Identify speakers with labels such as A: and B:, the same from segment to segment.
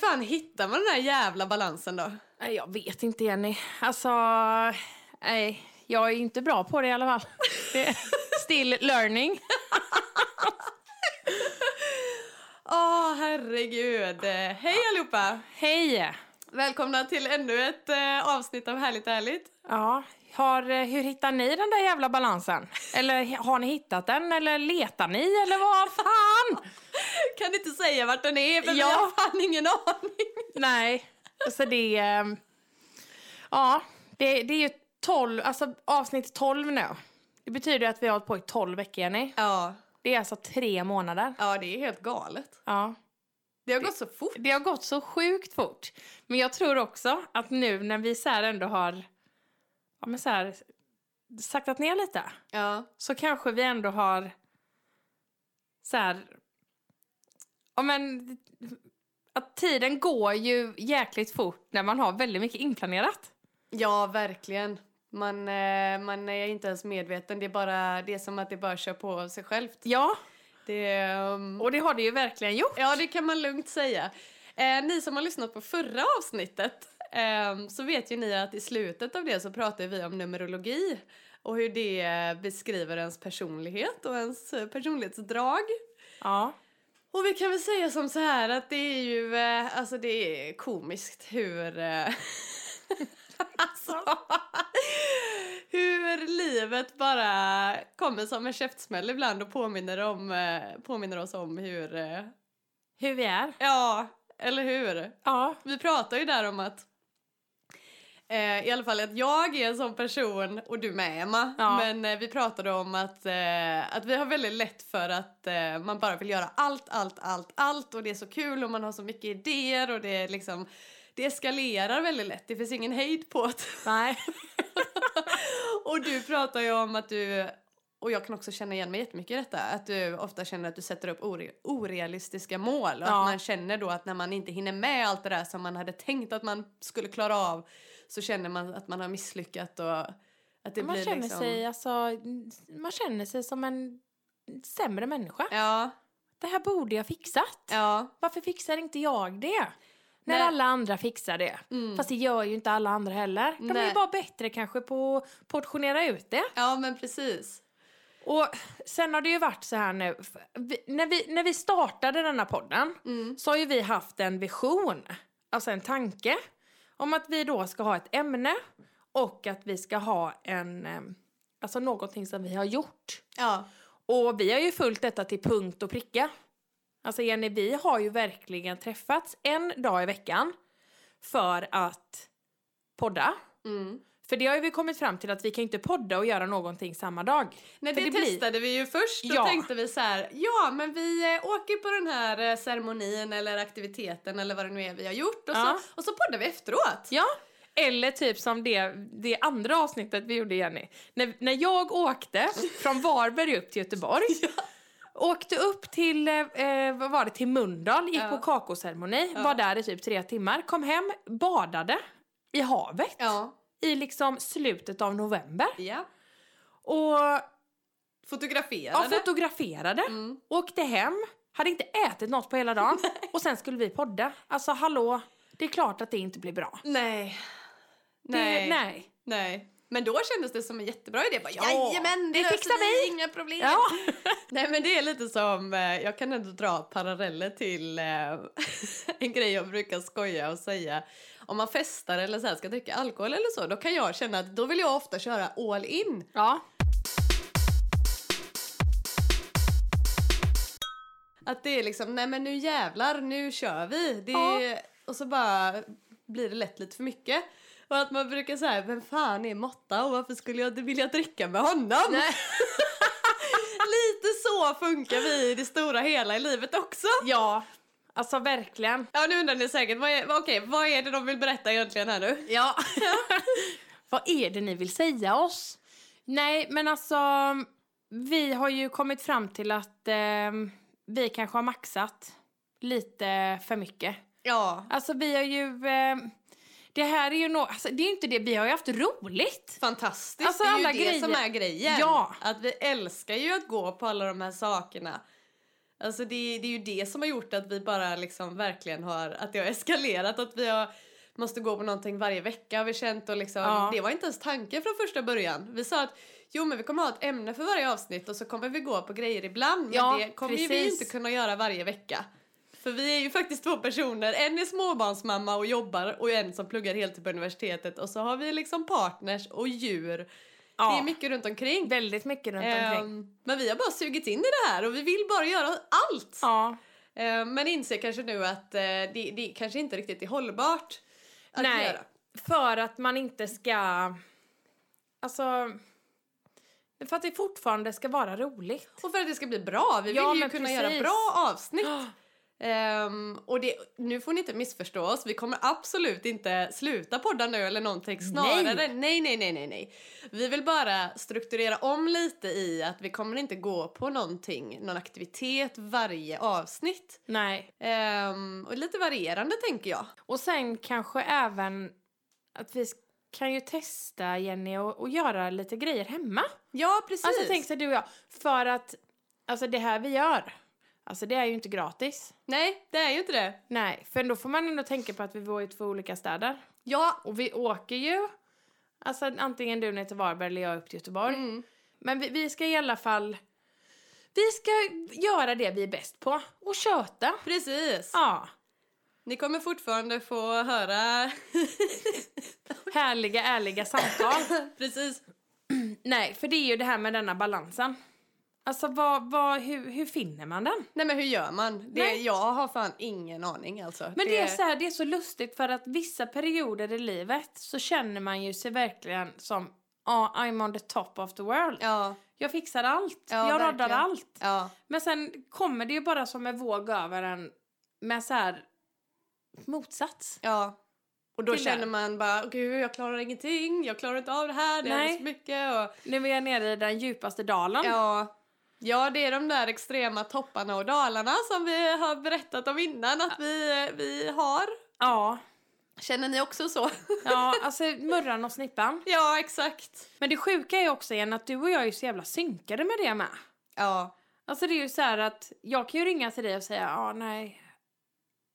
A: fan hittar man den här jävla balansen då?
B: Nej, Jag vet inte, Jenny. Alltså, nej, jag är inte bra på det i alla fall. Det är still learning.
A: Åh, herregud. Eh, Hej allihopa!
B: Hej!
A: Välkomna till ännu ett eh, avsnitt av Härligt ärligt.
B: Ja, har, hur hittar ni den där jävla balansen? Eller har ni hittat den? Eller letar ni? Eller vad fan?
A: Kan inte säga vart den är för vi
B: Ja.
A: har fan ingen aning.
B: Nej, alltså det... ehm, Ja, det, det är ju 12, alltså avsnitt 12 nu. Det betyder att vi har hållit på i 12 veckor, Jenny.
A: Ja,
B: Det är alltså tre månader.
A: ja det är helt galet.
B: Ja.
A: Det har gått så fort.
B: Det har gått så sjukt fort. Men jag tror också att nu när vi så här ändå har ja, men så här, saktat ner lite
A: Ja.
B: så kanske vi ändå har så här... Ja, men, att tiden går ju jäkligt fort när man har väldigt mycket inplanerat.
A: Ja, verkligen. Man, eh, man är inte ens medveten. Det är, bara, det är som att det bara kör på av sig självt.
B: Ja,
A: Det, ehm,
B: och det har det ju verkligen gjort.
A: ja, det kan man lugnt säga. Eh, ni som har lyssnat på förra avsnittet ehm, så vet ju ni att i slutet av det så pratar vi om numerologi och hur det eh, beskriver ens personlighet och ens eh, personlighetsdrag.
B: Ja,
A: Och vi kan väl säga som så här att det är ju, eh, alltså det är komiskt hur, eh, alltså, hur livet bara kommer som en käftsmäll ibland och påminner, om, eh, påminner oss om hur, eh,
B: hur vi är.
A: ja, eller hur?
B: Ja,
A: Vi pratar ju där om att eh, i alla fall att jag är en sån person, och du med Emma,
B: Ja.
A: men eh, vi pratade om att, eh, att vi har väldigt lätt för att eh, man bara vill göra allt, allt, allt, allt och det är så kul och man har så mycket idéer och det är liksom det eskalerar väldigt lätt, det finns ingen hejd på det.
B: nej.
A: Och du pratar ju om att du, och jag kan också känna igen mig jättemycket i detta, att du ofta känner att du sätter upp ore, orealistiska mål. Och
B: Ja.
A: att man känner då att när man inte hinner med allt det där som man hade tänkt att man skulle klara av så känner man att man har misslyckats och att det
B: Man
A: blir
B: känner,
A: liksom...
B: sig, alltså, man känner sig som en sämre människa.
A: Ja,
B: Det här borde jag fixat.
A: ja.
B: Varför fixar inte jag det? När
A: Nej.
B: alla andra fixar det.
A: Mm.
B: Fast det gör ju inte alla andra heller. De är
A: Nej.
B: ju bara bättre kanske på att portionera ut det.
A: Ja, men precis.
B: Och sen har det ju varit så här nu. f- Vi, när, vi, när vi startade denna podden
A: Mm.
B: så har ju vi haft en vision, alltså en tanke om att vi då ska ha ett ämne och att vi ska ha en, em, alltså någonting som vi har gjort.
A: Ja,
B: Och vi har ju följt detta till punkt och pricka. Alltså Jenny, vi har ju verkligen träffats en dag i veckan för att podda.
A: mm.
B: För det har ju vi kommit fram till att vi kan ju inte podda och göra någonting samma dag.
A: Nej,
B: För
A: det,
B: det blir-
A: testade vi ju först. Då
B: Ja.
A: tänkte vi så här, ja men vi eh, åker på den här eh, ceremonin eller aktiviteten eller vad det nu är vi har gjort och,
B: Ja.
A: så, och så poddar vi efteråt.
B: Ja, eller typ som det, det andra avsnittet vi gjorde Jenny. När, när jag åkte från Varberg upp till Göteborg. Åkte upp till, eh, eh, vad var det, till Mölndal, gick
A: Ja.
B: på kakoceremoni,
A: Ja.
B: var där i typ tre timmar, kom hem, badade i havet.
A: Ja.
B: i liksom slutet av november.
A: ja.
B: Och ja,
A: Fotograferade.
B: fotograferade,
A: Mm.
B: åkte hem, hade inte ätit något på hela dagen och sen skulle vi podda. Alltså hallå, det är klart att det inte blir bra.
A: Nej.
B: Det,
A: Nej. nej.
B: nej.
A: Men då kändes det som en jättebra idé. Bara,
B: Ja,
A: Jajamän, det,
B: det
A: löser
B: fixar
A: vi. Inga problem.
B: Ja.
A: Nej men det är lite som, eh, jag kan ändå dra paralleller till eh, en grej jag brukar skoja och säga. Om man festar eller så här, ska dricka alkohol eller så, då kan jag känna att då vill jag ofta köra all in.
B: ja.
A: Att det är liksom, nej men nu jävlar, nu kör vi. Det
B: Ja.
A: är, Och så bara blir det lätt lite för mycket. Och att man brukar säga, vem fan är Motta och varför skulle jag vilja dricka med honom?
B: Nej.
A: lite så funkar vi i det stora hela i livet också.
B: Ja, alltså verkligen.
A: Ja nu undrar ni säkert, vad är, okej, vad är det de vill berätta egentligen här nu?
B: Ja. Vad är det ni vill säga oss? Nej, men alltså vi har ju kommit fram till att eh, vi kanske har maxat lite för mycket.
A: Ja.
B: Alltså vi har ju... Eh, det här är ju nå, alltså, det är ju inte det, vi har ju haft roligt.
A: Fantastiskt,
B: Alltså,
A: det är ju
B: alla
A: det
B: grejer.
A: som är grejen.
B: Ja.
A: Att vi älskar ju att gå på alla de här sakerna. Alltså det, det är ju det som har gjort att vi bara liksom verkligen har, att det har eskalerat, att vi har måste gå på någonting varje vecka har vi känt och liksom,
B: Ja.
A: det var inte ens tanken från första början. Vi sa att jo men vi kommer ha ett ämne för varje avsnitt och så kommer vi gå på grejer ibland men
B: Ja,
A: det kommer ju vi
B: precis.
A: inte kunna göra varje vecka. För vi är ju faktiskt två personer, en är småbarnsmamma och jobbar och en som pluggar heltid på universitetet och så har vi liksom partners och djur.
B: Ja.
A: Det är mycket runt omkring.
B: Väldigt mycket runt omkring.
A: Ehm, men vi har bara sugit in i det här och vi vill bara göra allt.
B: Ja.
A: Eh, Men inser kanske nu att eh, det, det kanske inte riktigt är hållbart att
B: Nej,
A: göra.
B: för att man inte ska... Alltså... För att det fortfarande ska vara roligt.
A: Och för att det ska bli bra. Vi
B: Ja,
A: vill ju
B: men
A: kunna
B: precis.
A: göra bra avsnitt. Ehm, och det, nu får ni inte missförstå oss. Vi kommer absolut inte sluta podda nu eller någonting. Snarare nej. nej, nej, nej, nej, Vi vill bara strukturera om lite i att vi kommer inte gå på någonting, någon aktivitet varje avsnitt.
B: Nej.
A: Ehm, och lite varierande tänker jag.
B: Och sen kanske även att vi kan ju testa, Jenny, och, och göra lite grejer hemma.
A: Ja, precis.
B: Alltså tänk så du och jag. För att alltså det här vi gör, alltså det är ju inte gratis.
A: Nej, det är ju inte det.
B: Nej, för då får man ändå tänka på att vi bor i två olika städer.
A: Ja.
B: Och vi åker ju, alltså antingen du ner till Varberg eller jag upp till Göteborg.
A: Mm.
B: Men vi, vi ska i alla fall, vi ska göra det vi är bäst på och köta.
A: Precis.
B: Ja,
A: Ni kommer fortfarande få höra...
B: härliga ärliga samtal.
A: Precis.
B: Nej, för det är ju det här med denna balansen. Alltså vad, vad, hur, hur finner man den?
A: Nej men hur gör man? Det,
B: Nej.
A: jag har fan ingen aning alltså.
B: Men det är, så här, det är så lustigt för att vissa perioder i livet så känner man ju sig verkligen som "Ah, I'm on the top of the world.
A: Ja,
B: Jag fixar allt,
A: Ja,
B: jag räddar
A: verkligen.
B: allt.
A: ja.
B: Men sen kommer det ju bara som en våg över en med så här motsats.
A: Ja. Och då
B: Till
A: känner
B: den.
A: man bara, gud jag klarar ingenting, jag klarar inte av det här, det är
B: Nej.
A: alldeles för mycket. Och,
B: Nu är jag nere i den djupaste dalen.
A: ja. ja, det är de där extrema topparna och dalarna som vi har berättat om innan att vi, vi har.
B: ja.
A: Känner ni också så?
B: Ja, alltså murran och snippan.
A: ja, exakt.
B: Men det sjuka är ju också igen att du och jag är ju så jävla synkade med det med.
A: Ja.
B: Alltså det är ju så här att jag kan ju ringa till dig och säga ja ah, nej,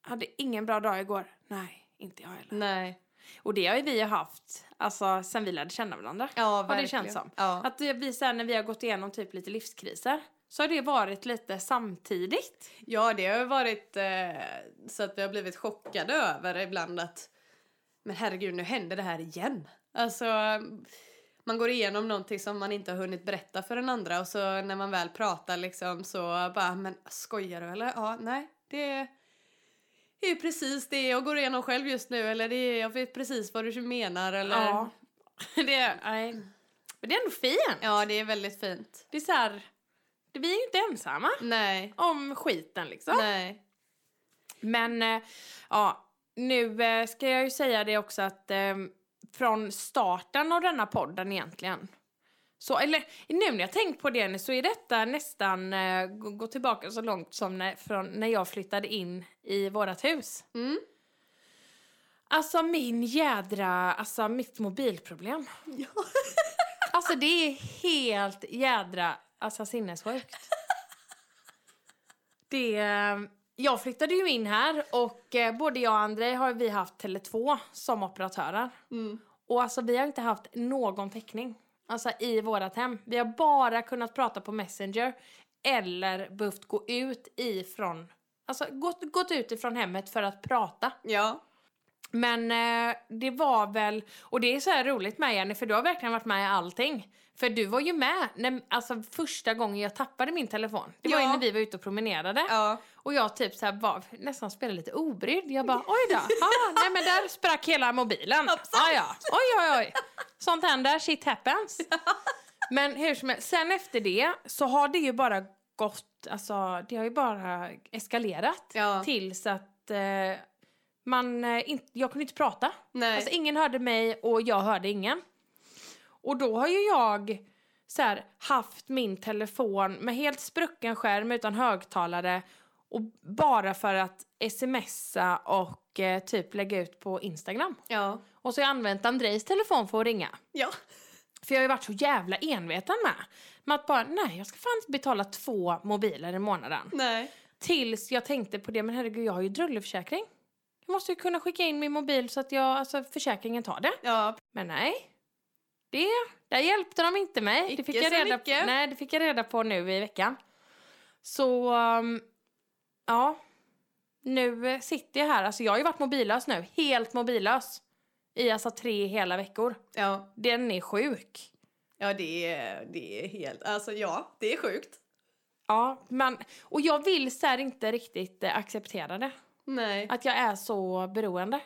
B: hade ingen bra dag igår. Nej, inte jag heller.
A: Nej.
B: Och det har ju vi haft, alltså sen vi lärde känna varandra.
A: Ja,
B: det
A: verkligen.
B: känns som.
A: Ja.
B: Att det- vi så här, när vi har gått igenom typ lite livskriser så har det varit lite samtidigt.
A: Ja, det har ju varit eh, så att vi har blivit chockade över ibland att men herregud, nu händer det här igen. Alltså, man går igenom någonting som man inte har hunnit berätta för den andra och så när man väl pratar liksom så bara, men skojar du eller? Ja, nej, det är ju precis det jag går igenom själv just nu eller det är, jag vet precis vad du menar eller.
B: Ja. Det, nej. Men det är ändå fint.
A: ja, det är väldigt fint.
B: Det är så här, det, vi är ju inte ensamma
A: Nej,
B: om skiten liksom.
A: nej.
B: Men eh, ja, nu eh, ska jag ju säga det också att eh, från starten av denna podden egentligen. Så, eller nu när jag tänkt på det så är detta nästan, eh, gå, gå tillbaka så långt som när, från när jag flyttade in i vårat hus.
A: Mm.
B: Alltså min jädra, alltså mitt mobilproblem.
A: Ja.
B: Alltså det är helt jädra alltså, sinnessjukt. Det, eh, jag flyttade ju in här och eh, både jag och André har vi haft Tele2 som operatörer.
A: Mm.
B: Och alltså vi har inte haft någon täckning. Alltså i vårat hem. Vi har bara kunnat prata på Messenger eller behövt gå ut ifrån, alltså gått, gått ut ifrån hemmet för att prata.
A: Ja.
B: Men eh, det var väl, och det är så här roligt med Jenny för du har verkligen varit med i allting. För du var ju med när, alltså, första gången jag tappade min telefon. Det var ju
A: Ja.
B: när vi var ute och promenerade.
A: Ja.
B: Och jag typ så här var, nästan spelade lite obrydd. Jag bara oj då, ah, nej men där sprack hela mobilen. Ah, ja. Oj oj oj, sånt händer, shit happens. Men hur som helst, sen efter det så har det ju bara gått, alltså det har ju bara eskalerat.
A: Ja.
B: Tills att eh, man, eh, inte- jag kunde inte prata.
A: Nej.
B: Alltså ingen hörde mig och jag hörde ingen. Och då har ju jag så här, haft min telefon med helt sprucken skärm utan högtalare och bara för att smsa och eh, typ lägga ut på Instagram.
A: ja.
B: Och så har jag använt Andrejs telefon för att ringa.
A: Ja.
B: För jag har ju varit så jävla enveten med. Med att bara, nej jag ska fan betala två mobiler i månaden.
A: Nej.
B: Tills jag tänkte på det, men herregud jag har ju drulleförsäkring. Jag måste ju kunna skicka in min mobil så att jag, alltså försäkringen tar det.
A: Ja,
B: Men nej. Det, där hjälpte de inte mig.
A: Icke
B: det, fick jag
A: så
B: reda på,
A: mycket.
B: nej, det fick jag reda på nu i veckan. Så, um, ja. Nu eh, sitter jag här. Alltså jag har ju varit mobillös nu. Helt mobillös. I alltså tre hela veckor.
A: ja,
B: Den är sjuk.
A: ja det, är, det är helt... Alltså ja, det är sjukt.
B: Ja, men, och jag vill så här inte riktigt eh, acceptera det.
A: Nej.
B: Att jag är så beroende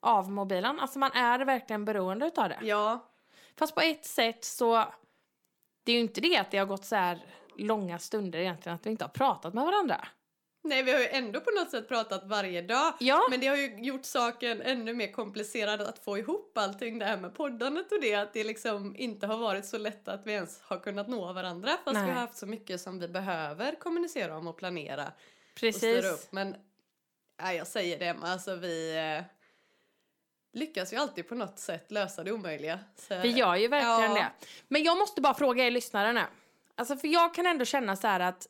B: av mobilen. Alltså man är verkligen beroende utav det.
A: Ja,
B: Fast på ett sätt så... Det är ju inte det att det har gått så här långa stunder egentligen att vi inte har pratat med varandra.
A: nej vi har ju ändå på något sätt pratat varje dag.
B: Ja,
A: Men det har ju gjort saken ännu mer komplicerad att få ihop allting det här med poddandet och det att det liksom inte har varit så lätt att vi ens har kunnat nå varandra fast vi
B: Nej.
A: har haft så mycket som vi behöver kommunicera om och planera och styra
B: precis.
A: upp. Men nej, jag säger det Emma, alltså vi eh, lyckas ju alltid på något sätt lösa det omöjliga. Så,
B: Vi gör ju verkligen
A: Ja.
B: det. Men jag måste bara fråga er lyssnare nu. Alltså för jag kan ändå känna så här att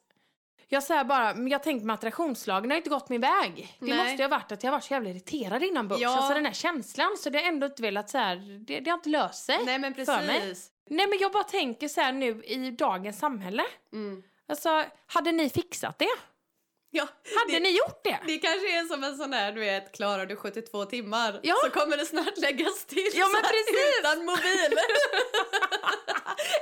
B: jag säger bara, men jag tänkte med attraktionslagen har ju inte gått min väg. Det
A: Nej.
B: måste ju ha varit att jag varit så jävla irriterad inombords.
A: Ja.
B: Alltså den här känslan. Så det har ändå inte velat så här, det, det har inte löst sig. Nej.
A: Nej men
B: för mig.
A: precis.
B: men jag bara tänker så här nu i dagens samhälle.
A: Mm.
B: Alltså, hade ni fixat det?
A: Ja,
B: Hade
A: det,
B: ni gjort det?
A: det kanske är som en sån här, du vet, klarar du 72 timmar
B: Ja.
A: så kommer det snart läggas till
B: Ja,
A: så
B: men
A: här
B: precis.
A: utan mobil.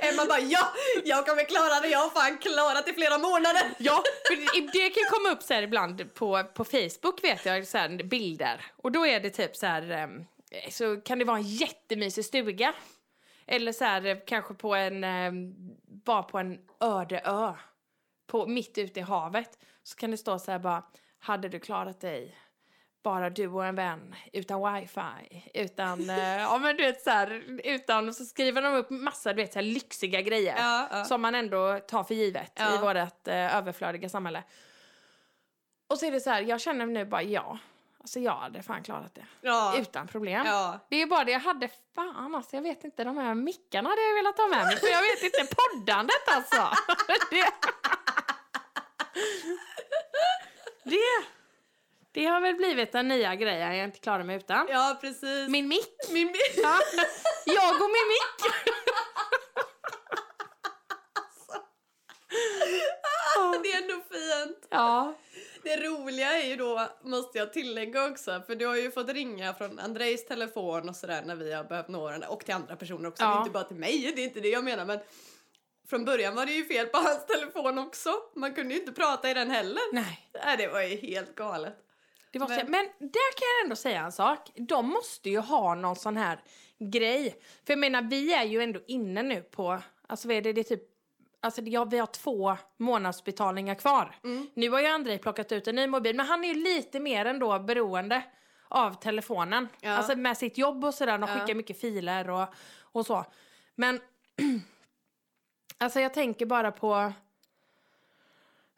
A: Emma bara ja, jag kommer klara det, jag har fan klarat i flera månader.
B: Ja, för det- det kan ju komma upp så här ibland på, på Facebook vet jag, så här bilder. Och då är det typ så här, ehm, så kan det vara en jättemysig stuga. Eller så här eh, kanske på en, ehm, bara på en öde ö. På, mitt ute i havet. Så kan det stå så här bara, hade du klarat dig? Bara du och en vän, utan wifi, utan, eh, ja men du vet så här, utan, och så skriver de upp massa du vet så här lyxiga grejer
A: Ja, ja.
B: som man ändå tar för givet i
A: Ja.
B: vårt eh, överflödiga samhälle. Och så är det så här, jag känner nu bara ja. Alltså jag hade fan klarat det.
A: ja.
B: Utan problem.
A: ja.
B: Det är bara det jag hade, fan alltså jag vet inte, de här mickarna hade jag velat ha med mig. För jag vet inte, poddandet alltså. det... det... Det har väl blivit den nya grejen jag inte klarar mig utan.
A: Ja, precis.
B: Min mick.
A: Min bil.
B: Ja. Jag och min mick.
A: Det är ändå fint.
B: Ja.
A: Det roliga är ju då, måste jag tillägga också, för du har ju fått ringa från Andrejs telefon och sådär när vi har behövt nå varandra och till andra personer också,
B: Ja.
A: det är inte bara till mig, det är inte det jag menar men från början var det ju fel på hans telefon också, man kunde ju inte prata i den heller.
B: Nej.
A: Nej, det var ju helt galet.
B: Det var men,
A: Men-
B: men där kan jag ändå säga en sak. De måste ju ha någon sån här grej. För jag menar, vi är ju ändå inne nu på... Alltså vad är det, det är typ... Alltså ja, vi har två månadsbetalningar kvar.
A: Mm.
B: Nu har ju Andrei plockat ut en ny mobil. Men han är ju lite mer ändå beroende av telefonen.
A: Ja.
B: Alltså med sitt jobb och sådär. De
A: Ja.
B: skickar mycket filer och, och så. Men... alltså jag tänker bara på...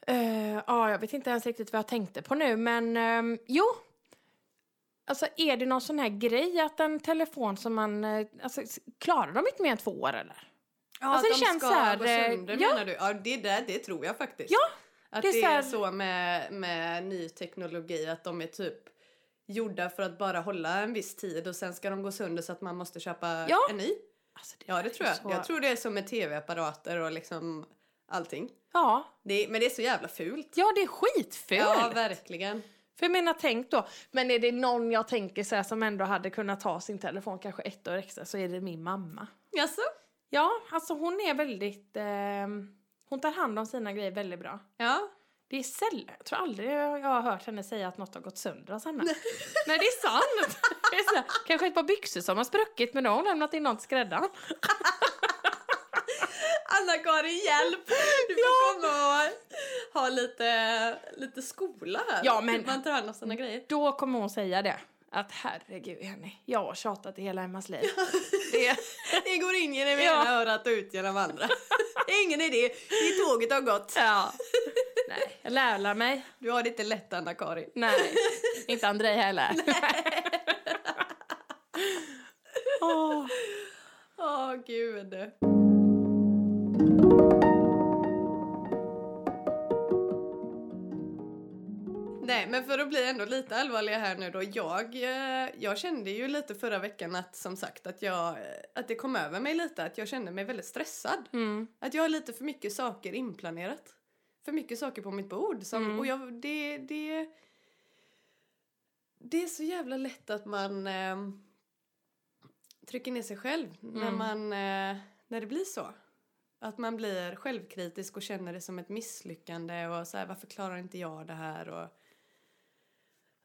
B: Eh, ja, jag vet inte ens riktigt vad jag tänkte på nu, men ehm, jo. Alltså är det någon sån här grej att en telefon som man, eh, alltså s- klarar de inte mer än två år eller?
A: Ja,
B: Alltså,
A: att
B: det
A: de
B: känns
A: ska
B: så här,
A: gå sönder
B: eh, ja.
A: menar du? Ja, det där, det tror jag faktiskt.
B: Ja,
A: Att
B: det
A: det
B: är
A: är
B: så
A: så,
B: här-
A: med, med ny teknologi att de är typ gjorda för att bara hålla en viss tid och sen ska de gå sönder så att man måste köpa
B: Ja.
A: en ny.
B: Alltså,
A: Ja,
B: där
A: det
B: är
A: tror jag.
B: så-
A: Jag tror det är som med tv-apparater och liksom allting.
B: Ja,
A: Det är, men det är så jävla fult.
B: ja det är skitfult.
A: Ja, verkligen.
B: För jag menar, tänk då. Men är det någon jag tänker så här som ändå hade kunnat ta sin telefon kanske ett år extra så är det min mamma.
A: Jaså?
B: Ja, alltså hon är väldigt, ehm, hon tar hand om sina grejer väldigt bra.
A: Ja.
B: Det är sällan, jag tror aldrig jag har hört henne säga att något har gått sönder hos henne. Nej det är sant! Det är så här, kanske ett par byxor som har spruckit men då har hon lämnat in något till skräddaren.
A: Anna-Karin, hjälp! Du får komma och ha lite, lite skola här.
B: Ja, men-
A: Hur Man tar hand om sina grejer.
B: Då kommer hon säga det. Att herregud Jenny, jag har tjatat i hela Emmas liv. Det,
A: Det går in genom
B: Ja.
A: ena örat och ut genom andra. Det är ingen idé. Det tåget har gått.
B: ja. Nej, jag lärlar mig.
A: Du har det inte lätt, Anna-Karin.
B: Nej, inte Andrei heller. Åh.
A: Åh, gud. Men för att bli ändå lite allvarlig här nu då. Jag, eh, jag kände ju lite förra veckan att som sagt att, jag, eh, att det kom över mig lite att jag kände mig väldigt stressad.
B: Mm.
A: Att jag har lite för mycket saker inplanerat. För mycket saker på mitt bord. Som,
B: Mm.
A: Och jag, det, det, det är så jävla lätt att man eh, trycker ner sig själv när,
B: Mm.
A: man, eh, när det blir så. Att man blir självkritisk och känner det som ett misslyckande och så här, varför klarar inte jag det här? Och,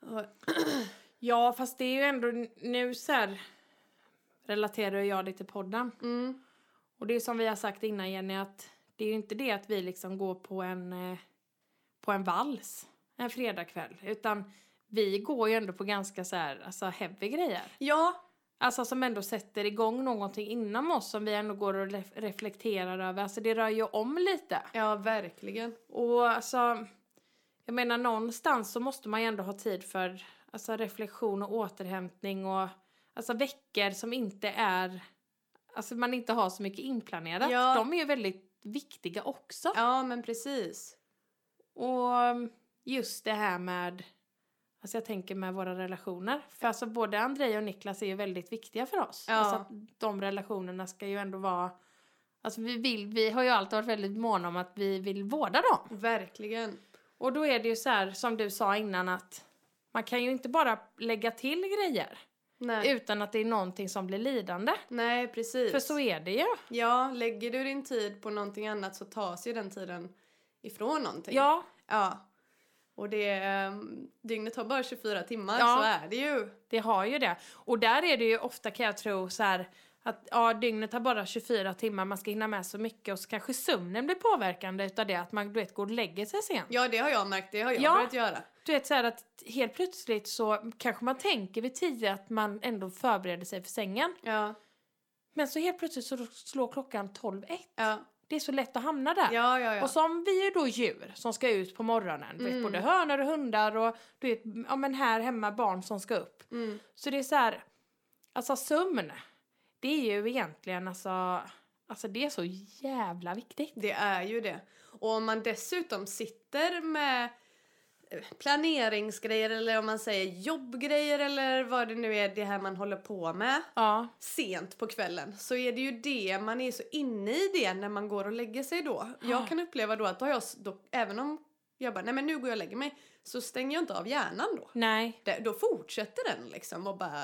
A: och,
B: Ja, fast det är ju ändå nu så här relaterar jag det till podden.
A: mm,
B: Och det är som vi har sagt innan Jenny att det är ju inte det att vi liksom går på en, eh, på en vals en fredagkväll. Utan vi går ju ändå på ganska så här, alltså heavy grejer.
A: ja,
B: Alltså som ändå sätter igång någonting inom oss som vi ändå går och ref- reflekterar över. Alltså det rör ju om lite.
A: ja, verkligen.
B: Och alltså, jag menar någonstans så måste man ju ändå ha tid för alltså, reflektion och återhämtning och alltså veckor som inte är, alltså man inte har så mycket inplanerat.
A: Ja.
B: De är ju väldigt viktiga också.
A: Ja, men precis.
B: Och just det här med, alltså jag tänker med våra relationer. För alltså både Andrei och Niklas är ju väldigt viktiga för oss.
A: Ja.
B: Alltså att de relationerna ska ju ändå vara, alltså vi vill, vi har ju alltid varit väldigt måna om att vi vill vårda dem.
A: Verkligen.
B: Och då är det ju så här som du sa innan att man kan ju inte bara lägga till grejer
A: Nej,
B: utan att det är någonting som blir lidande.
A: Nej precis.
B: För så är det ju.
A: Ja, lägger du din tid på någonting annat så tas ju den tiden ifrån någonting.
B: Ja,
A: Ja. Och det, ehm, dygnet har bara 24 timmar,
B: Ja.
A: så är det ju.
B: det har ju det. Och där är det ju ofta kan jag tro så här att ja, dygnet har bara 24 timmar, man ska hinna med så mycket och så kanske sömnen blir påverkande utav det att man du vet, går och lägger sig sent.
A: Ja, det har jag märkt, det har jag
B: Ja.
A: börjat göra.
B: Du vet så här att helt plötsligt så kanske man tänker vid tio att man ändå förbereder sig för sängen.
A: Ja,
B: Men så helt plötsligt så slår klockan 12.01.
A: ja,
B: Det är så lätt att hamna där.
A: ja, ja. ja.
B: Och som vi är ju då djur som ska ut på morgonen. Du
A: Mm.
B: vet, både hönor och hundar och du vet, ja, men här hemma barn som ska upp.
A: Mm.
B: Så det är så här, alltså sömn, det är ju egentligen alltså, alltså det är så jävla viktigt.
A: Det är ju det. Och om man dessutom sitter med eh, planeringsgrejer eller om man säger jobbgrejer eller vad det nu är det här man håller på med
B: Ja,
A: sent på kvällen så är det ju det, man är så inne i det när man går och lägger sig då. Jag kan uppleva då att då har jag, s- då, även om jag bara, nej men nu går jag och lägger mig, så stänger jag inte av hjärnan då.
B: nej.
A: Det, då fortsätter den liksom och bara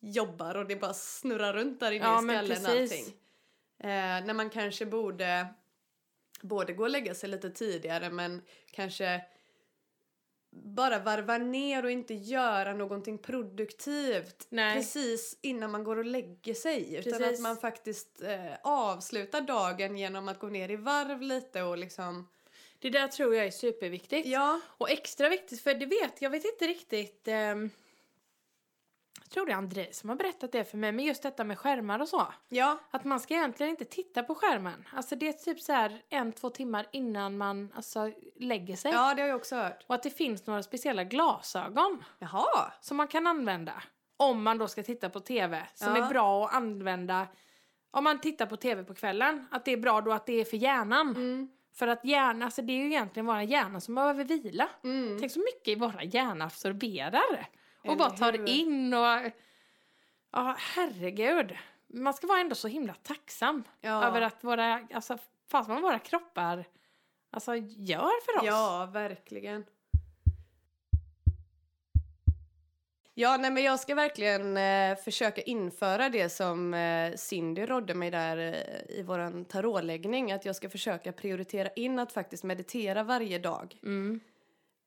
A: jobbar och det bara snurrar runt där inne
B: Ja,
A: i
B: men
A: skallen och
B: precis.
A: allting. Eh, när man kanske borde både gå och lägga sig lite tidigare men kanske bara varva ner och inte göra någonting produktivt
B: Nej.
A: precis innan man går och lägger sig. Utan
B: Precis.
A: att man faktiskt eh, avslutar dagen genom att gå ner i varv lite och liksom...
B: Det där tror jag är superviktigt.
A: Ja,
B: Och extra viktigt, för du vet, jag vet inte riktigt, ehm, jag tror det är André som har berättat det för mig, men just detta med skärmar och så.
A: ja,
B: Att man ska egentligen inte titta på skärmen. Alltså det är typ så här en, två timmar innan man alltså, lägger sig.
A: ja, det har jag också hört.
B: Och att det finns några speciella glasögon
A: Jaha!
B: som man kan använda. Om man då ska titta på TV. Som
A: Ja.
B: är bra att använda om man tittar på TV på kvällen. Att det är bra då att det är för hjärnan.
A: Mm,
B: För att hjärnan, alltså det är ju egentligen våra hjärna som behöver vila.
A: mm.
B: Tänk så mycket våra hjärna absorberar. Och
A: Eller
B: bara tar
A: hur?
B: in och... Ja, herregud. Man ska vara ändå så himla tacksam
A: Ja.
B: över att våra, alltså fast vad våra kroppar alltså, gör för oss.
A: Ja, verkligen. Ja, nej, men jag ska verkligen eh, försöka införa det som eh, Cindy rådde mig där eh, i vår tarotläggning. Att jag ska försöka prioritera in att faktiskt meditera varje dag.
B: Mm.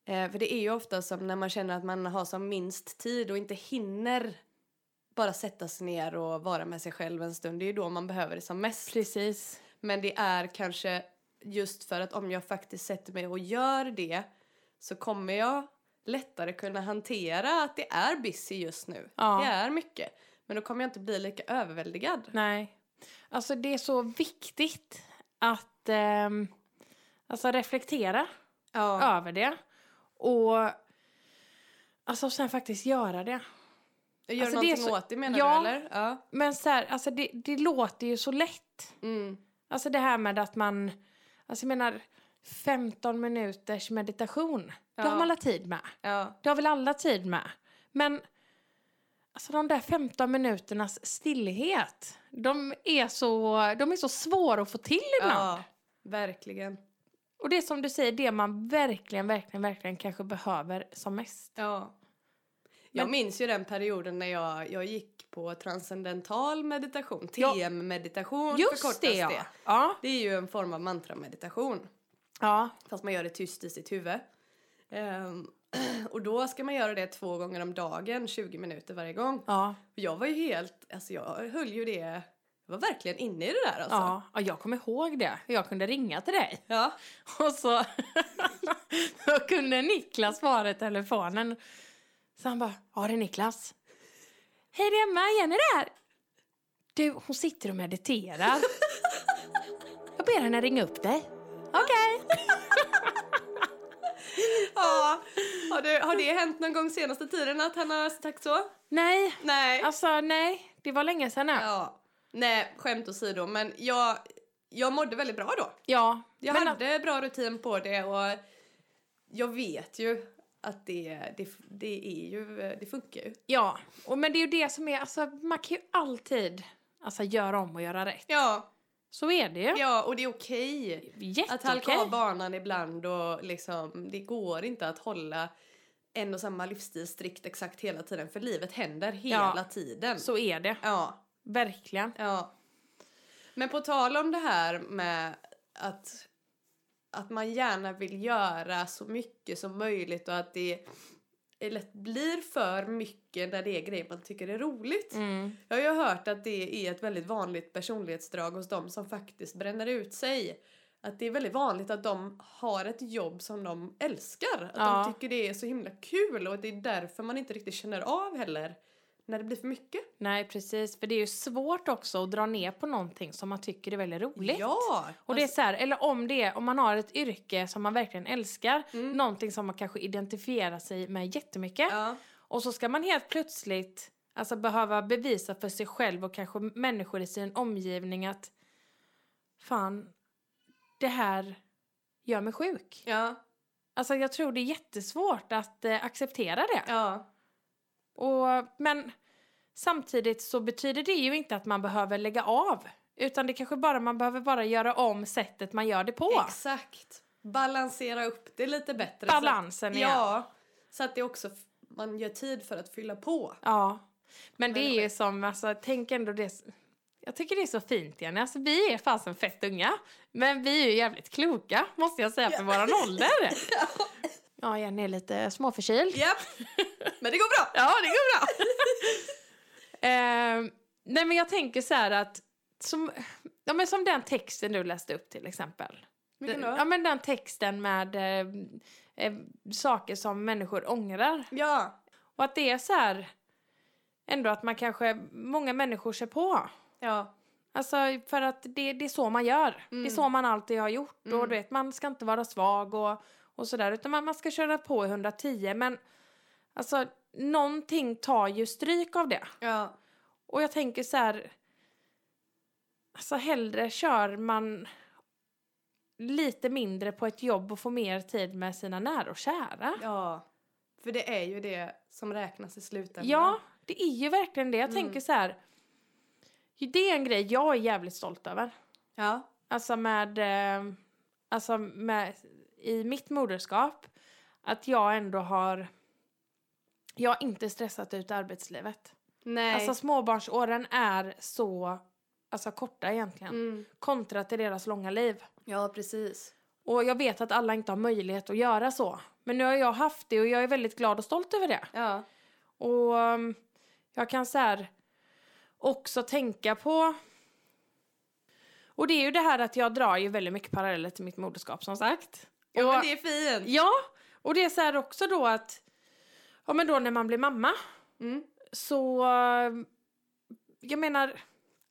A: Eh, för det är ju ofta som när man känner att man har som minst tid och inte hinner bara sätta sig ner och vara med sig själv en stund. Det är ju då man behöver det som mest.
B: Precis.
A: Men det är kanske just för att om jag faktiskt sätter mig och gör det så kommer jag lättare kunna hantera att det är busy just nu.
B: Ja.
A: Det är mycket. Men då kommer jag inte bli lika överväldigad.
B: Nej. Alltså det är så viktigt att ehm, alltså, reflektera
A: Ja.
B: över det. Och alltså, sen faktiskt göra det.
A: Gör
B: Alltså,
A: alltså,
B: det
A: någonting
B: är så-
A: åt det menar
B: Ja.
A: du eller? Ja.
B: Men så här, alltså, det, det låter ju så lätt.
A: Mm.
B: Alltså det här med att man... Alltså jag menar, 15 minuters meditation.
A: Ja.
B: Det har man alla tid med.
A: Ja.
B: Det har väl alla tid med. Men alltså de där 15 minuternas stillhet, de är så, de är så svåra att få till ibland.
A: ja, verkligen.
B: Och det är som du säger, det man verkligen, verkligen, verkligen kanske behöver som mest.
A: Ja. Jag
B: Men-
A: minns ju den perioden när jag, jag gick på transcendental meditation,
B: Ja.
A: TM-meditation
B: Just
A: förkortas
B: det, ja. ja.
A: Det är ju en form av mantrameditation.
B: Ja,
A: Fast man gör det tyst i sitt huvud. Ehm, och då ska man göra det två gånger om dagen, 20 minuter varje gång. Och
B: ja,
A: jag var ju helt, alltså jag höll ju det, jag var verkligen inne i det där alltså.
B: ja. ja. Jag kommer ihåg det. Jag kunde ringa till dig.
A: Ja,
B: Och så, så kunde Niklas svara i telefonen. Så han bara, ja det är Niklas. Hej det är Emma, Jenny där. Du, hon sitter och mediterar. Jag ber henne ringa upp dig. Okej.
A: ja. Har, det, har det hänt någon gång senaste tiden att han har sagt så?
B: Nej,
A: Nej.
B: alltså nej. Det var länge sedan. Ja.
A: Ja. Nej, skämt åsido, men jag, jag mådde väldigt bra då.
B: ja.
A: Jag
B: men,
A: hade bra rutin på det och jag vet ju att det, det, det är ju, det funkar ju.
B: ja. Och, men det är ju det som är, alltså man kan ju alltid alltså, göra om och göra rätt.
A: Ja,
B: Så är det ju.
A: ja och det är okej. Att halka
B: Jätteokej.
A: av banan ibland och liksom, det går inte att hålla en och samma livsstil strikt exakt hela tiden för livet händer hela
B: Ja.
A: tiden.
B: Så är det.
A: Ja.
B: Verkligen.
A: Ja. Men på tal om det här med att, att man gärna vill göra så mycket som möjligt och att det är lätt blir för mycket när det är grejer man tycker är roligt.
B: Mm.
A: Jag har ju hört att det är ett väldigt vanligt personlighetsdrag hos de som faktiskt bränner ut sig. Att det är väldigt vanligt att de har ett jobb som de älskar. Att
B: Ja.
A: de tycker det är så himla kul och att det är därför man inte riktigt känner av heller när det blir för mycket.
B: Nej, precis. För det är ju svårt också att dra ner på någonting som man tycker är väldigt roligt.
A: Ja! alltså-
B: Och det är så här, eller om det är, om man har ett yrke som man verkligen älskar,
A: Mm.
B: någonting som man kanske identifierar sig med jättemycket.
A: Ja.
B: Och så ska man helt plötsligt alltså, behöva bevisa för sig själv och kanske människor i sin omgivning att fan, det här gör mig sjuk.
A: Ja,
B: Alltså jag tror det är jättesvårt att eh, acceptera det.
A: ja,
B: Och, men samtidigt så betyder det ju inte att man behöver lägga av. Utan det kanske bara man behöver bara göra om sättet man gör det på.
A: exakt. Balansera upp det lite bättre.
B: Balansen
A: så,
B: igen. Ja.
A: Ja, så att det också f- man gör tid för att fylla på.
B: ja. Men det
A: Men-
B: är ju som, alltså tänk ändå det. Jag tycker det är så fint Jenny. Alltså vi är fasen fett unga. Men vi är ju jävligt kloka måste jag säga för våran ålder. Ja Jenny är lite småförkyld.
A: Japp, men det går bra.
B: Ja, det går bra. eh, nej, men jag tänker så här att... Som, ja, men som den texten du läste upp till exempel.
A: Vilken
B: Den-
A: då?
B: Ja, men den texten med eh, eh, saker som människor ångrar.
A: Ja,
B: Och att det är så här... Ändå att man kanske... Många människor ser på.
A: ja,
B: Alltså för att det, det är så man gör. Det är
A: Mm.
B: så man alltid har gjort. Och
A: Mm.
B: du vet, man ska inte vara svag och, och sådär. Utan man, man ska köra på i 110. Men alltså, någonting tar ju stryk av det.
A: ja,
B: Och jag tänker så här. Alltså hellre kör man lite mindre på ett jobb och får mer tid med sina nära och kära.
A: ja. För det är ju det som räknas i slutändan.
B: Ja, det är ju verkligen det. Jag
A: Mm.
B: tänker så här. Det är en grej jag är jävligt stolt över.
A: Ja,
B: Alltså med, eh, alltså med, i mitt moderskap, att jag ändå har, jag har inte stressat ut arbetslivet.
A: nej.
B: Alltså småbarnsåren är så, alltså korta egentligen,
A: mm.
B: kontra till deras långa liv.
A: Ja, precis.
B: Och jag vet att alla inte har möjlighet att göra så. Men nu har jag haft det och jag är väldigt glad och stolt över det.
A: Ja,
B: Och um, jag kan så här också tänka på... Och det är ju det här att jag drar ju väldigt mycket paralleller till mitt moderskap som sagt.
A: ja
B: och,
A: men det är fint.
B: ja och det är så här också då att... Ja men då när man blir mamma
A: Mm.
B: så... um, Jag menar,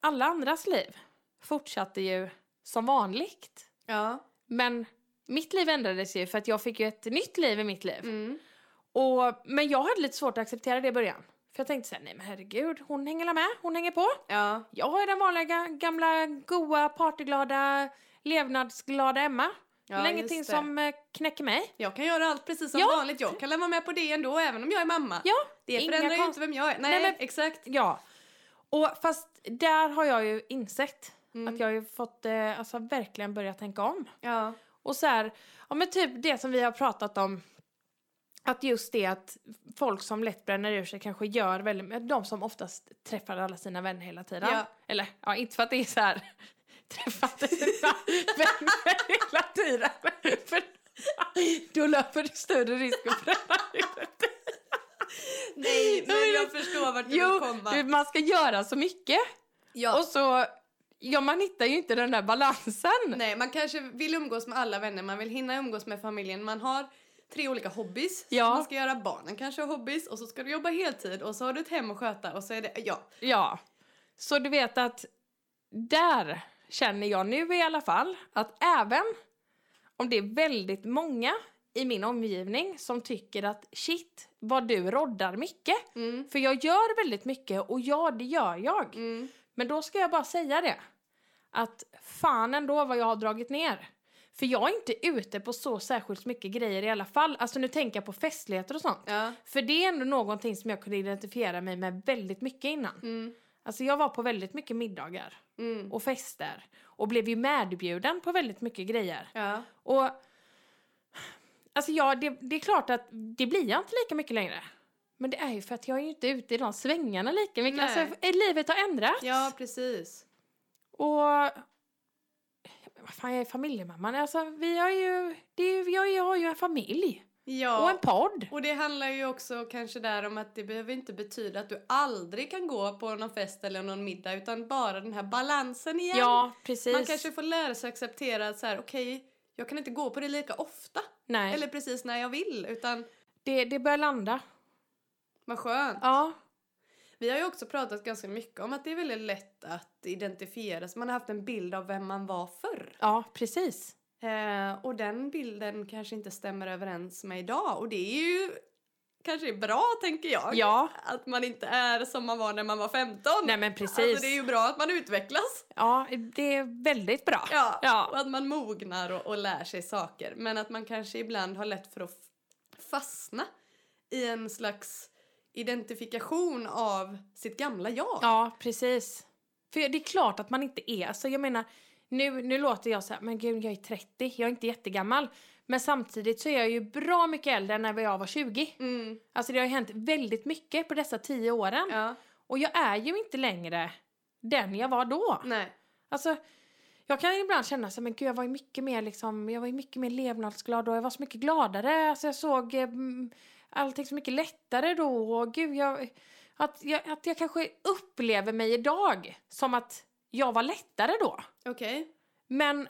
B: alla andras liv fortsatte ju som vanligt.
A: Ja,
B: Men mitt liv ändrades ju för att jag fick ju ett nytt liv i mitt liv.
A: mm.
B: Och, men jag hade lite svårt att acceptera det i början. För jag tänkte såhär, nej men herregud, hon hänger la med, hon hänger på.
A: ja,
B: Jag är den vanliga ga- gamla, goa, partyglada, levnadsglada Emma.
A: Ja,
B: Eller
A: just
B: ingenting
A: det.
B: som eh, knäcker mig.
A: Jag kan göra allt precis som
B: Ja.
A: vanligt. Jag kan vara med på det ändå, även om jag är mamma.
B: Ja,
A: det
B: inga
A: förändrar ju
B: konst-
A: inte vem jag är. Nej,
B: Nej, men-
A: exakt.
B: Ja. Och fast där har jag ju insett
A: Mm.
B: att jag har ju fått eh, alltså, verkligen börja tänka om.
A: Ja.
B: Och så här, ja men typ det som vi har pratat om. Att just det att folk som lätt bränner ur sig kanske gör väldigt, men de som oftast träffar alla sina vänner hela tiden.
A: Ja.
B: Eller ja, inte för att det är så här, träffat sina vänner hela tiden. För då löper du större risk att bränna ur dig.
A: Nej, men
B: men
A: jag
B: det-
A: förstår vart du vill
B: Jo,
A: komma.
B: du, man ska göra så mycket.
A: ja.
B: Och så, ja man hittar ju inte den där balansen.
A: Nej, man kanske vill umgås med alla vänner, man vill hinna umgås med familjen. Man har tre olika hobbys
B: Ja.
A: som man ska göra. Barnen kanske har hobbys och så ska du jobba heltid och så har du ett hem att sköta och så är det, ja.
B: Ja. Så du vet att där känner jag nu i alla fall att även om det är väldigt många i min omgivning som tycker att shit vad du roddar mycket.
A: Mm.
B: För jag gör väldigt mycket och ja det gör jag.
A: Mm.
B: Men då ska jag bara säga det. Att fan ändå vad jag har dragit ner. För jag är inte ute på så särskilt mycket grejer i alla fall. Alltså nu tänker jag på festligheter och sånt.
A: Ja.
B: För det är ändå någonting som jag kunde identifiera mig med väldigt mycket innan.
A: Mm.
B: Alltså jag var på väldigt mycket middagar
A: Mm.
B: och fester och blev ju medbjuden på väldigt mycket grejer.
A: Ja.
B: Och alltså ja, det, det är klart att det blir jag inte lika mycket längre. Men det är ju för att jag är ju inte ute i de svängarna lika mycket.
A: Nej.
B: Alltså eh, livet har ändrats.
A: ja, precis.
B: Och vad fan, jag är familjemamman. Alltså vi har ju, det är, ju- jag, jag har ju en familj
A: Ja.
B: och en podd.
A: Och det handlar ju också kanske där om att det behöver inte betyda att du aldrig kan gå på någon fest eller någon middag utan bara den här balansen igen.
B: Ja, precis.
A: Man kanske får lära sig acceptera att så här, okej, jag kan inte gå på det lika ofta
B: Nej,
A: eller precis när jag vill utan
B: det, det börjar landa.
A: vad skönt.
B: Ja,
A: Vi har ju också pratat ganska mycket om att det är väldigt lätt att identifiera sig. Man har haft en bild av vem man var förr.
B: ja precis.
A: Eh, och den bilden kanske inte stämmer överens med idag. Och det är ju kanske bra, tänker jag.
B: Ja,
A: Att man inte är som man var när man var 15.
B: nej men precis.
A: Alltså det är ju bra att man utvecklas.
B: Ja, det är väldigt bra.
A: Ja.
B: Ja.
A: Och att man mognar och, och lär sig saker. Men att man kanske ibland har lätt för att f- fastna i en slags identifikation av sitt gamla jag.
B: Ja, precis. För det är klart att man inte är, alltså jag menar, nu, nu låter jag så här, men gud jag är 30, jag är inte jättegammal. Men samtidigt så är jag ju bra mycket äldre än när jag var 20.
A: Mm.
B: Alltså det har ju hänt väldigt mycket på dessa 10 åren.
A: Ja.
B: Och jag är ju inte längre den jag var då.
A: Nej.
B: Alltså, jag kan ibland känna så här, men gud jag var ju mycket mer liksom, jag var ju mycket mer levnadsglad och jag var så mycket gladare. Alltså jag såg eh, mm, allting så mycket lättare då och gud jag, att jag, att jag kanske upplever mig idag som att jag var lättare då.
A: Okej.
B: Men,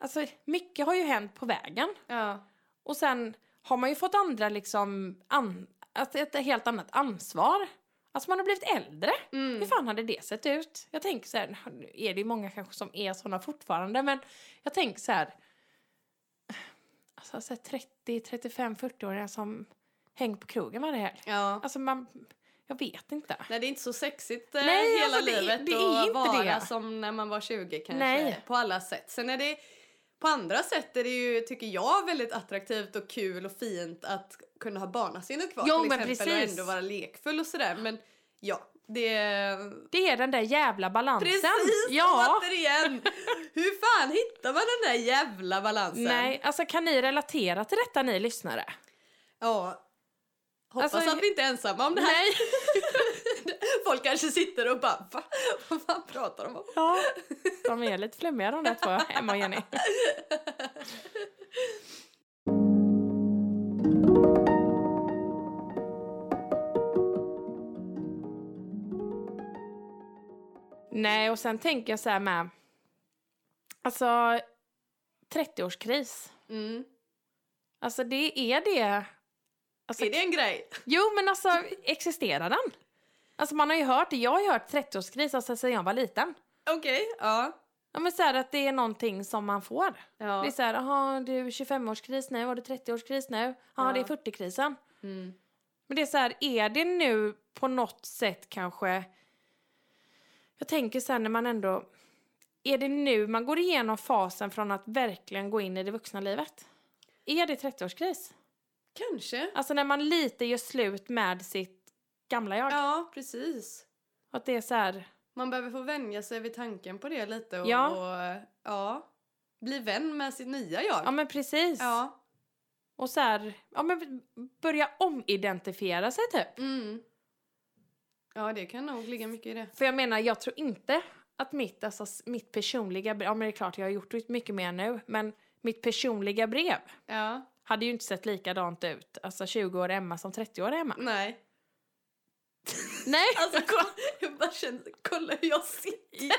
B: alltså mycket har ju hänt på vägen.
A: Ja.
B: Och sen har man ju fått andra liksom, an, alltså ett helt annat ansvar. Alltså man har blivit äldre.
A: Mm.
B: Hur fan hade det sett ut? Jag tänker så här, nu är det ju många kanske som är såna fortfarande, men jag tänker så här. Alltså så här 30, 35, 40-åringar som hänger på krogen varje helg.
A: Ja.
B: Alltså man, jag vet inte.
A: Nej, det är inte så sexigt eh,
B: Nej,
A: hela
B: alltså, det är-
A: livet
B: det är
A: att
B: inte
A: vara
B: det.
A: som när man var 20 kanske.
B: Nej.
A: På alla sätt. Sen är det på andra sätt är det ju, tycker jag, väldigt attraktivt och kul och fint att kunna ha barnasinnet kvar
B: Jo,
A: till
B: men
A: exempel och
B: precis.
A: ändå vara lekfull och sådär. Men ja, det...
B: Det är den där jävla balansen.
A: Precis!
B: Ja!
A: Återigen! Hur fan hittar man den där jävla balansen?
B: Nej, alltså kan ni relatera till detta ni lyssnare?
A: Ja. Hoppas
B: Alltså,
A: att vi inte är ensamma om det här.
B: Nej.
A: Folk kanske sitter och bara Va? Vad fan pratar de om?
B: Ja, de är lite flummiga de där två, Emma och Jenny. Nej, och sen tänker jag så här med... Alltså, 30-årskris.
A: Mm.
B: Alltså, det är det... Alltså,
A: Är det en grej?
B: Jo, men alltså, existerar den? Alltså, man har ju hört det. Jag har ju hört 30-årskris alltså, sedan jag var liten.
A: Okej, ja.
B: Ja, men så här att det är någonting som man får.
A: ja.
B: Det är så här, jaha, det är 25-årskris nu, har du 30-årskris nu? Ja,
A: Ja.
B: det är 40-krisen.
A: Mm.
B: Men det är så här, är det nu på något sätt kanske... Jag tänker så här när man ändå Är det nu man går igenom fasen från att verkligen gå in i det vuxna livet? Är det 30-årskris?
A: Kanske.
B: Alltså när man lite gör slut med sitt gamla jag.
A: Ja, precis.
B: Att det är så här,
A: Man behöver få vänja sig vid tanken på det lite och
B: Ja.
A: och, ja, bli vän med sitt nya jag.
B: ja men precis.
A: Ja.
B: Och så här, ja men börja omidentifiera sig typ.
A: Mm. Ja, det kan nog ligga mycket i det.
B: För jag menar, jag tror inte att mitt, alltså, s- mitt personliga brev, ja men det är klart jag har gjort mycket mer nu, men mitt personliga brev
A: Ja.
B: hade ju inte sett likadant ut, alltså 20-åriga Emma som 30-åriga Emma.
A: Nej.
B: Nej!
A: Alltså, kolla, jag bara känner, kolla hur jag sitter.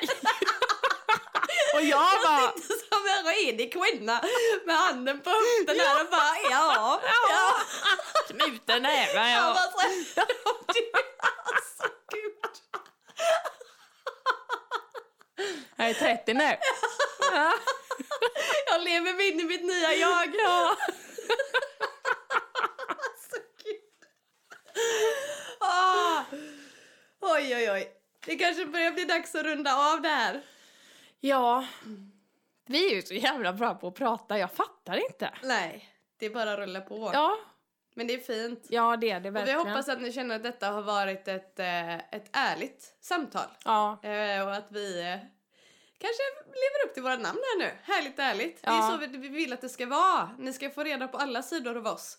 B: Och jag bara,
A: Jag sitter som en redig kvinna med handen på höften där och bara ja. ja.
B: knuten näve
A: Jag
B: ja.
A: bara så här, alltså gud.
B: Jag är 30 nu.
A: Jag lever mig in i mitt nya jag.
B: Ja.
A: Alltså gud. Ah. Oj, oj, oj. Det kanske börjar bli dags att runda av det här.
B: ja. Vi är ju så jävla bra på att prata, jag fattar inte.
A: Nej, det är bara att rulla på.
B: Ja,
A: Men det är fint.
B: ja det är det
A: Och vi
B: verkligen.
A: hoppas att ni känner att detta har varit ett, eh, ett ärligt samtal.
B: Ja,
A: Eh, och att vi eh, kanske lever upp till våra namn här nu. Härligt ärligt. Det är
B: Ja.
A: så vi, vi vill att det ska vara. Ni ska få reda på alla sidor av oss.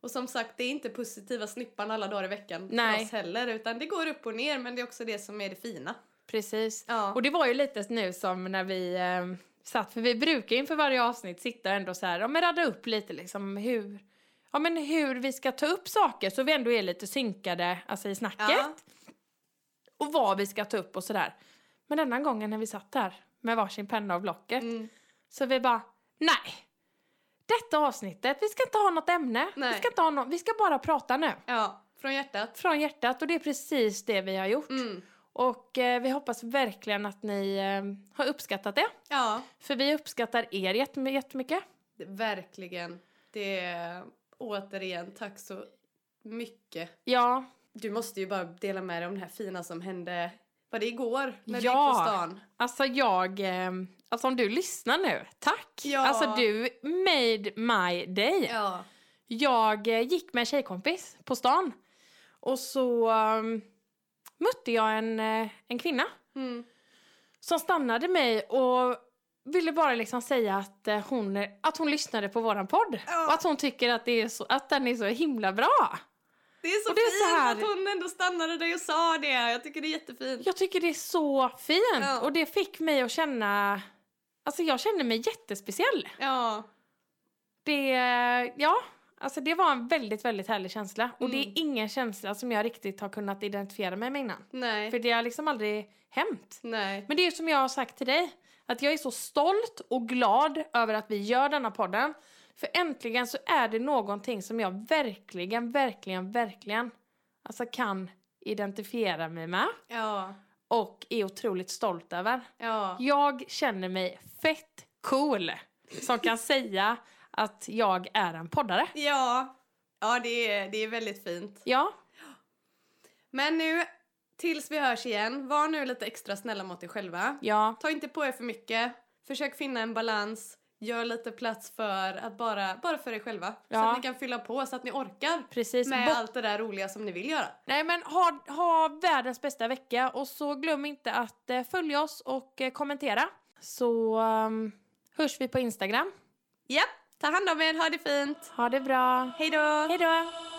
A: Och som sagt, det är inte positiva snippan alla dagar i veckan
B: Nej.
A: för oss heller. Utan det går upp och ner, men det är också det som är det fina.
B: precis.
A: Ja.
B: Och det var ju lite nu som när vi eh, satt, för vi brukar inför varje avsnitt sitta ändå så här, ja men radda upp lite liksom hur, ja men hur vi ska ta upp saker så vi ändå är lite synkade, alltså i snacket.
A: Ja.
B: Och vad vi ska ta upp och sådär. Men denna gången när vi satt där med varsin penna och blocket
A: Mm.
B: så vi bara, nej! Detta avsnittet, vi ska inte ha något ämne,
A: Nej.
B: vi ska inte ha något, vi ska bara prata nu.
A: ja, från hjärtat.
B: Från hjärtat och det är precis det vi har gjort.
A: Mm.
B: Och eh, vi hoppas verkligen att ni eh, har uppskattat det.
A: Ja,
B: För vi uppskattar er jättemy- jättemycket.
A: det, verkligen. Det är återigen, tack så mycket.
B: Ja,
A: Du måste ju bara dela med dig om det här fina som hände, var det igår? När du
B: Ja.
A: gick på stan?
B: alltså jag... Eh, alltså om du lyssnar nu, tack!
A: Ja.
B: Alltså du made my day.
A: Ja.
B: Jag eh, gick med en tjejkompis på stan och så eh, mötte jag en, eh, en kvinna
A: Mm.
B: som stannade mig och ville bara liksom säga att eh, hon, att hon lyssnade på våran podd
A: Ja.
B: och att hon tycker att, det är så, att den är så himla bra.
A: Det är så
B: Och det är
A: fint
B: så här-
A: att hon ändå stannade dig och sa det. Jag tycker det är jättefint.
B: Jag tycker det är så fint
A: Ja.
B: och det fick mig att känna... Alltså jag kände mig jättespeciell.
A: Ja,
B: Det, ja, alltså det var en väldigt, väldigt härlig känsla. Och det är
A: Mm.
B: ingen känsla som jag riktigt har kunnat identifiera mig med innan.
A: nej.
B: För det har liksom aldrig hänt.
A: Nej.
B: Men det är som jag har sagt till dig, att jag är så stolt och glad över att vi gör denna podden. För äntligen så är det någonting som jag verkligen, verkligen, verkligen alltså kan identifiera mig med
A: Ja,
B: och är otroligt stolt över.
A: ja.
B: Jag känner mig fett cool som kan säga att jag är en poddare.
A: Ja, ja det, är, det är väldigt fint.
B: Ja,
A: Men nu, tills vi hörs igen, var nu lite extra snälla mot er själva.
B: ja,
A: Ta inte på er för mycket. Försök finna en balans. Gör lite plats för att bara, bara för er själva. Så
B: Ja.
A: att ni kan fylla på, så att ni orkar
B: precis.
A: med
B: Bort-
A: allt det där roliga som ni vill göra.
B: Nej men ha, ha världens bästa vecka och så glöm inte att eh, följa oss och eh, kommentera. Så um, hörs vi på Instagram.
A: Japp, ta hand om er, ha det fint.
B: Ha det bra.
A: Hej då!
B: Hej då!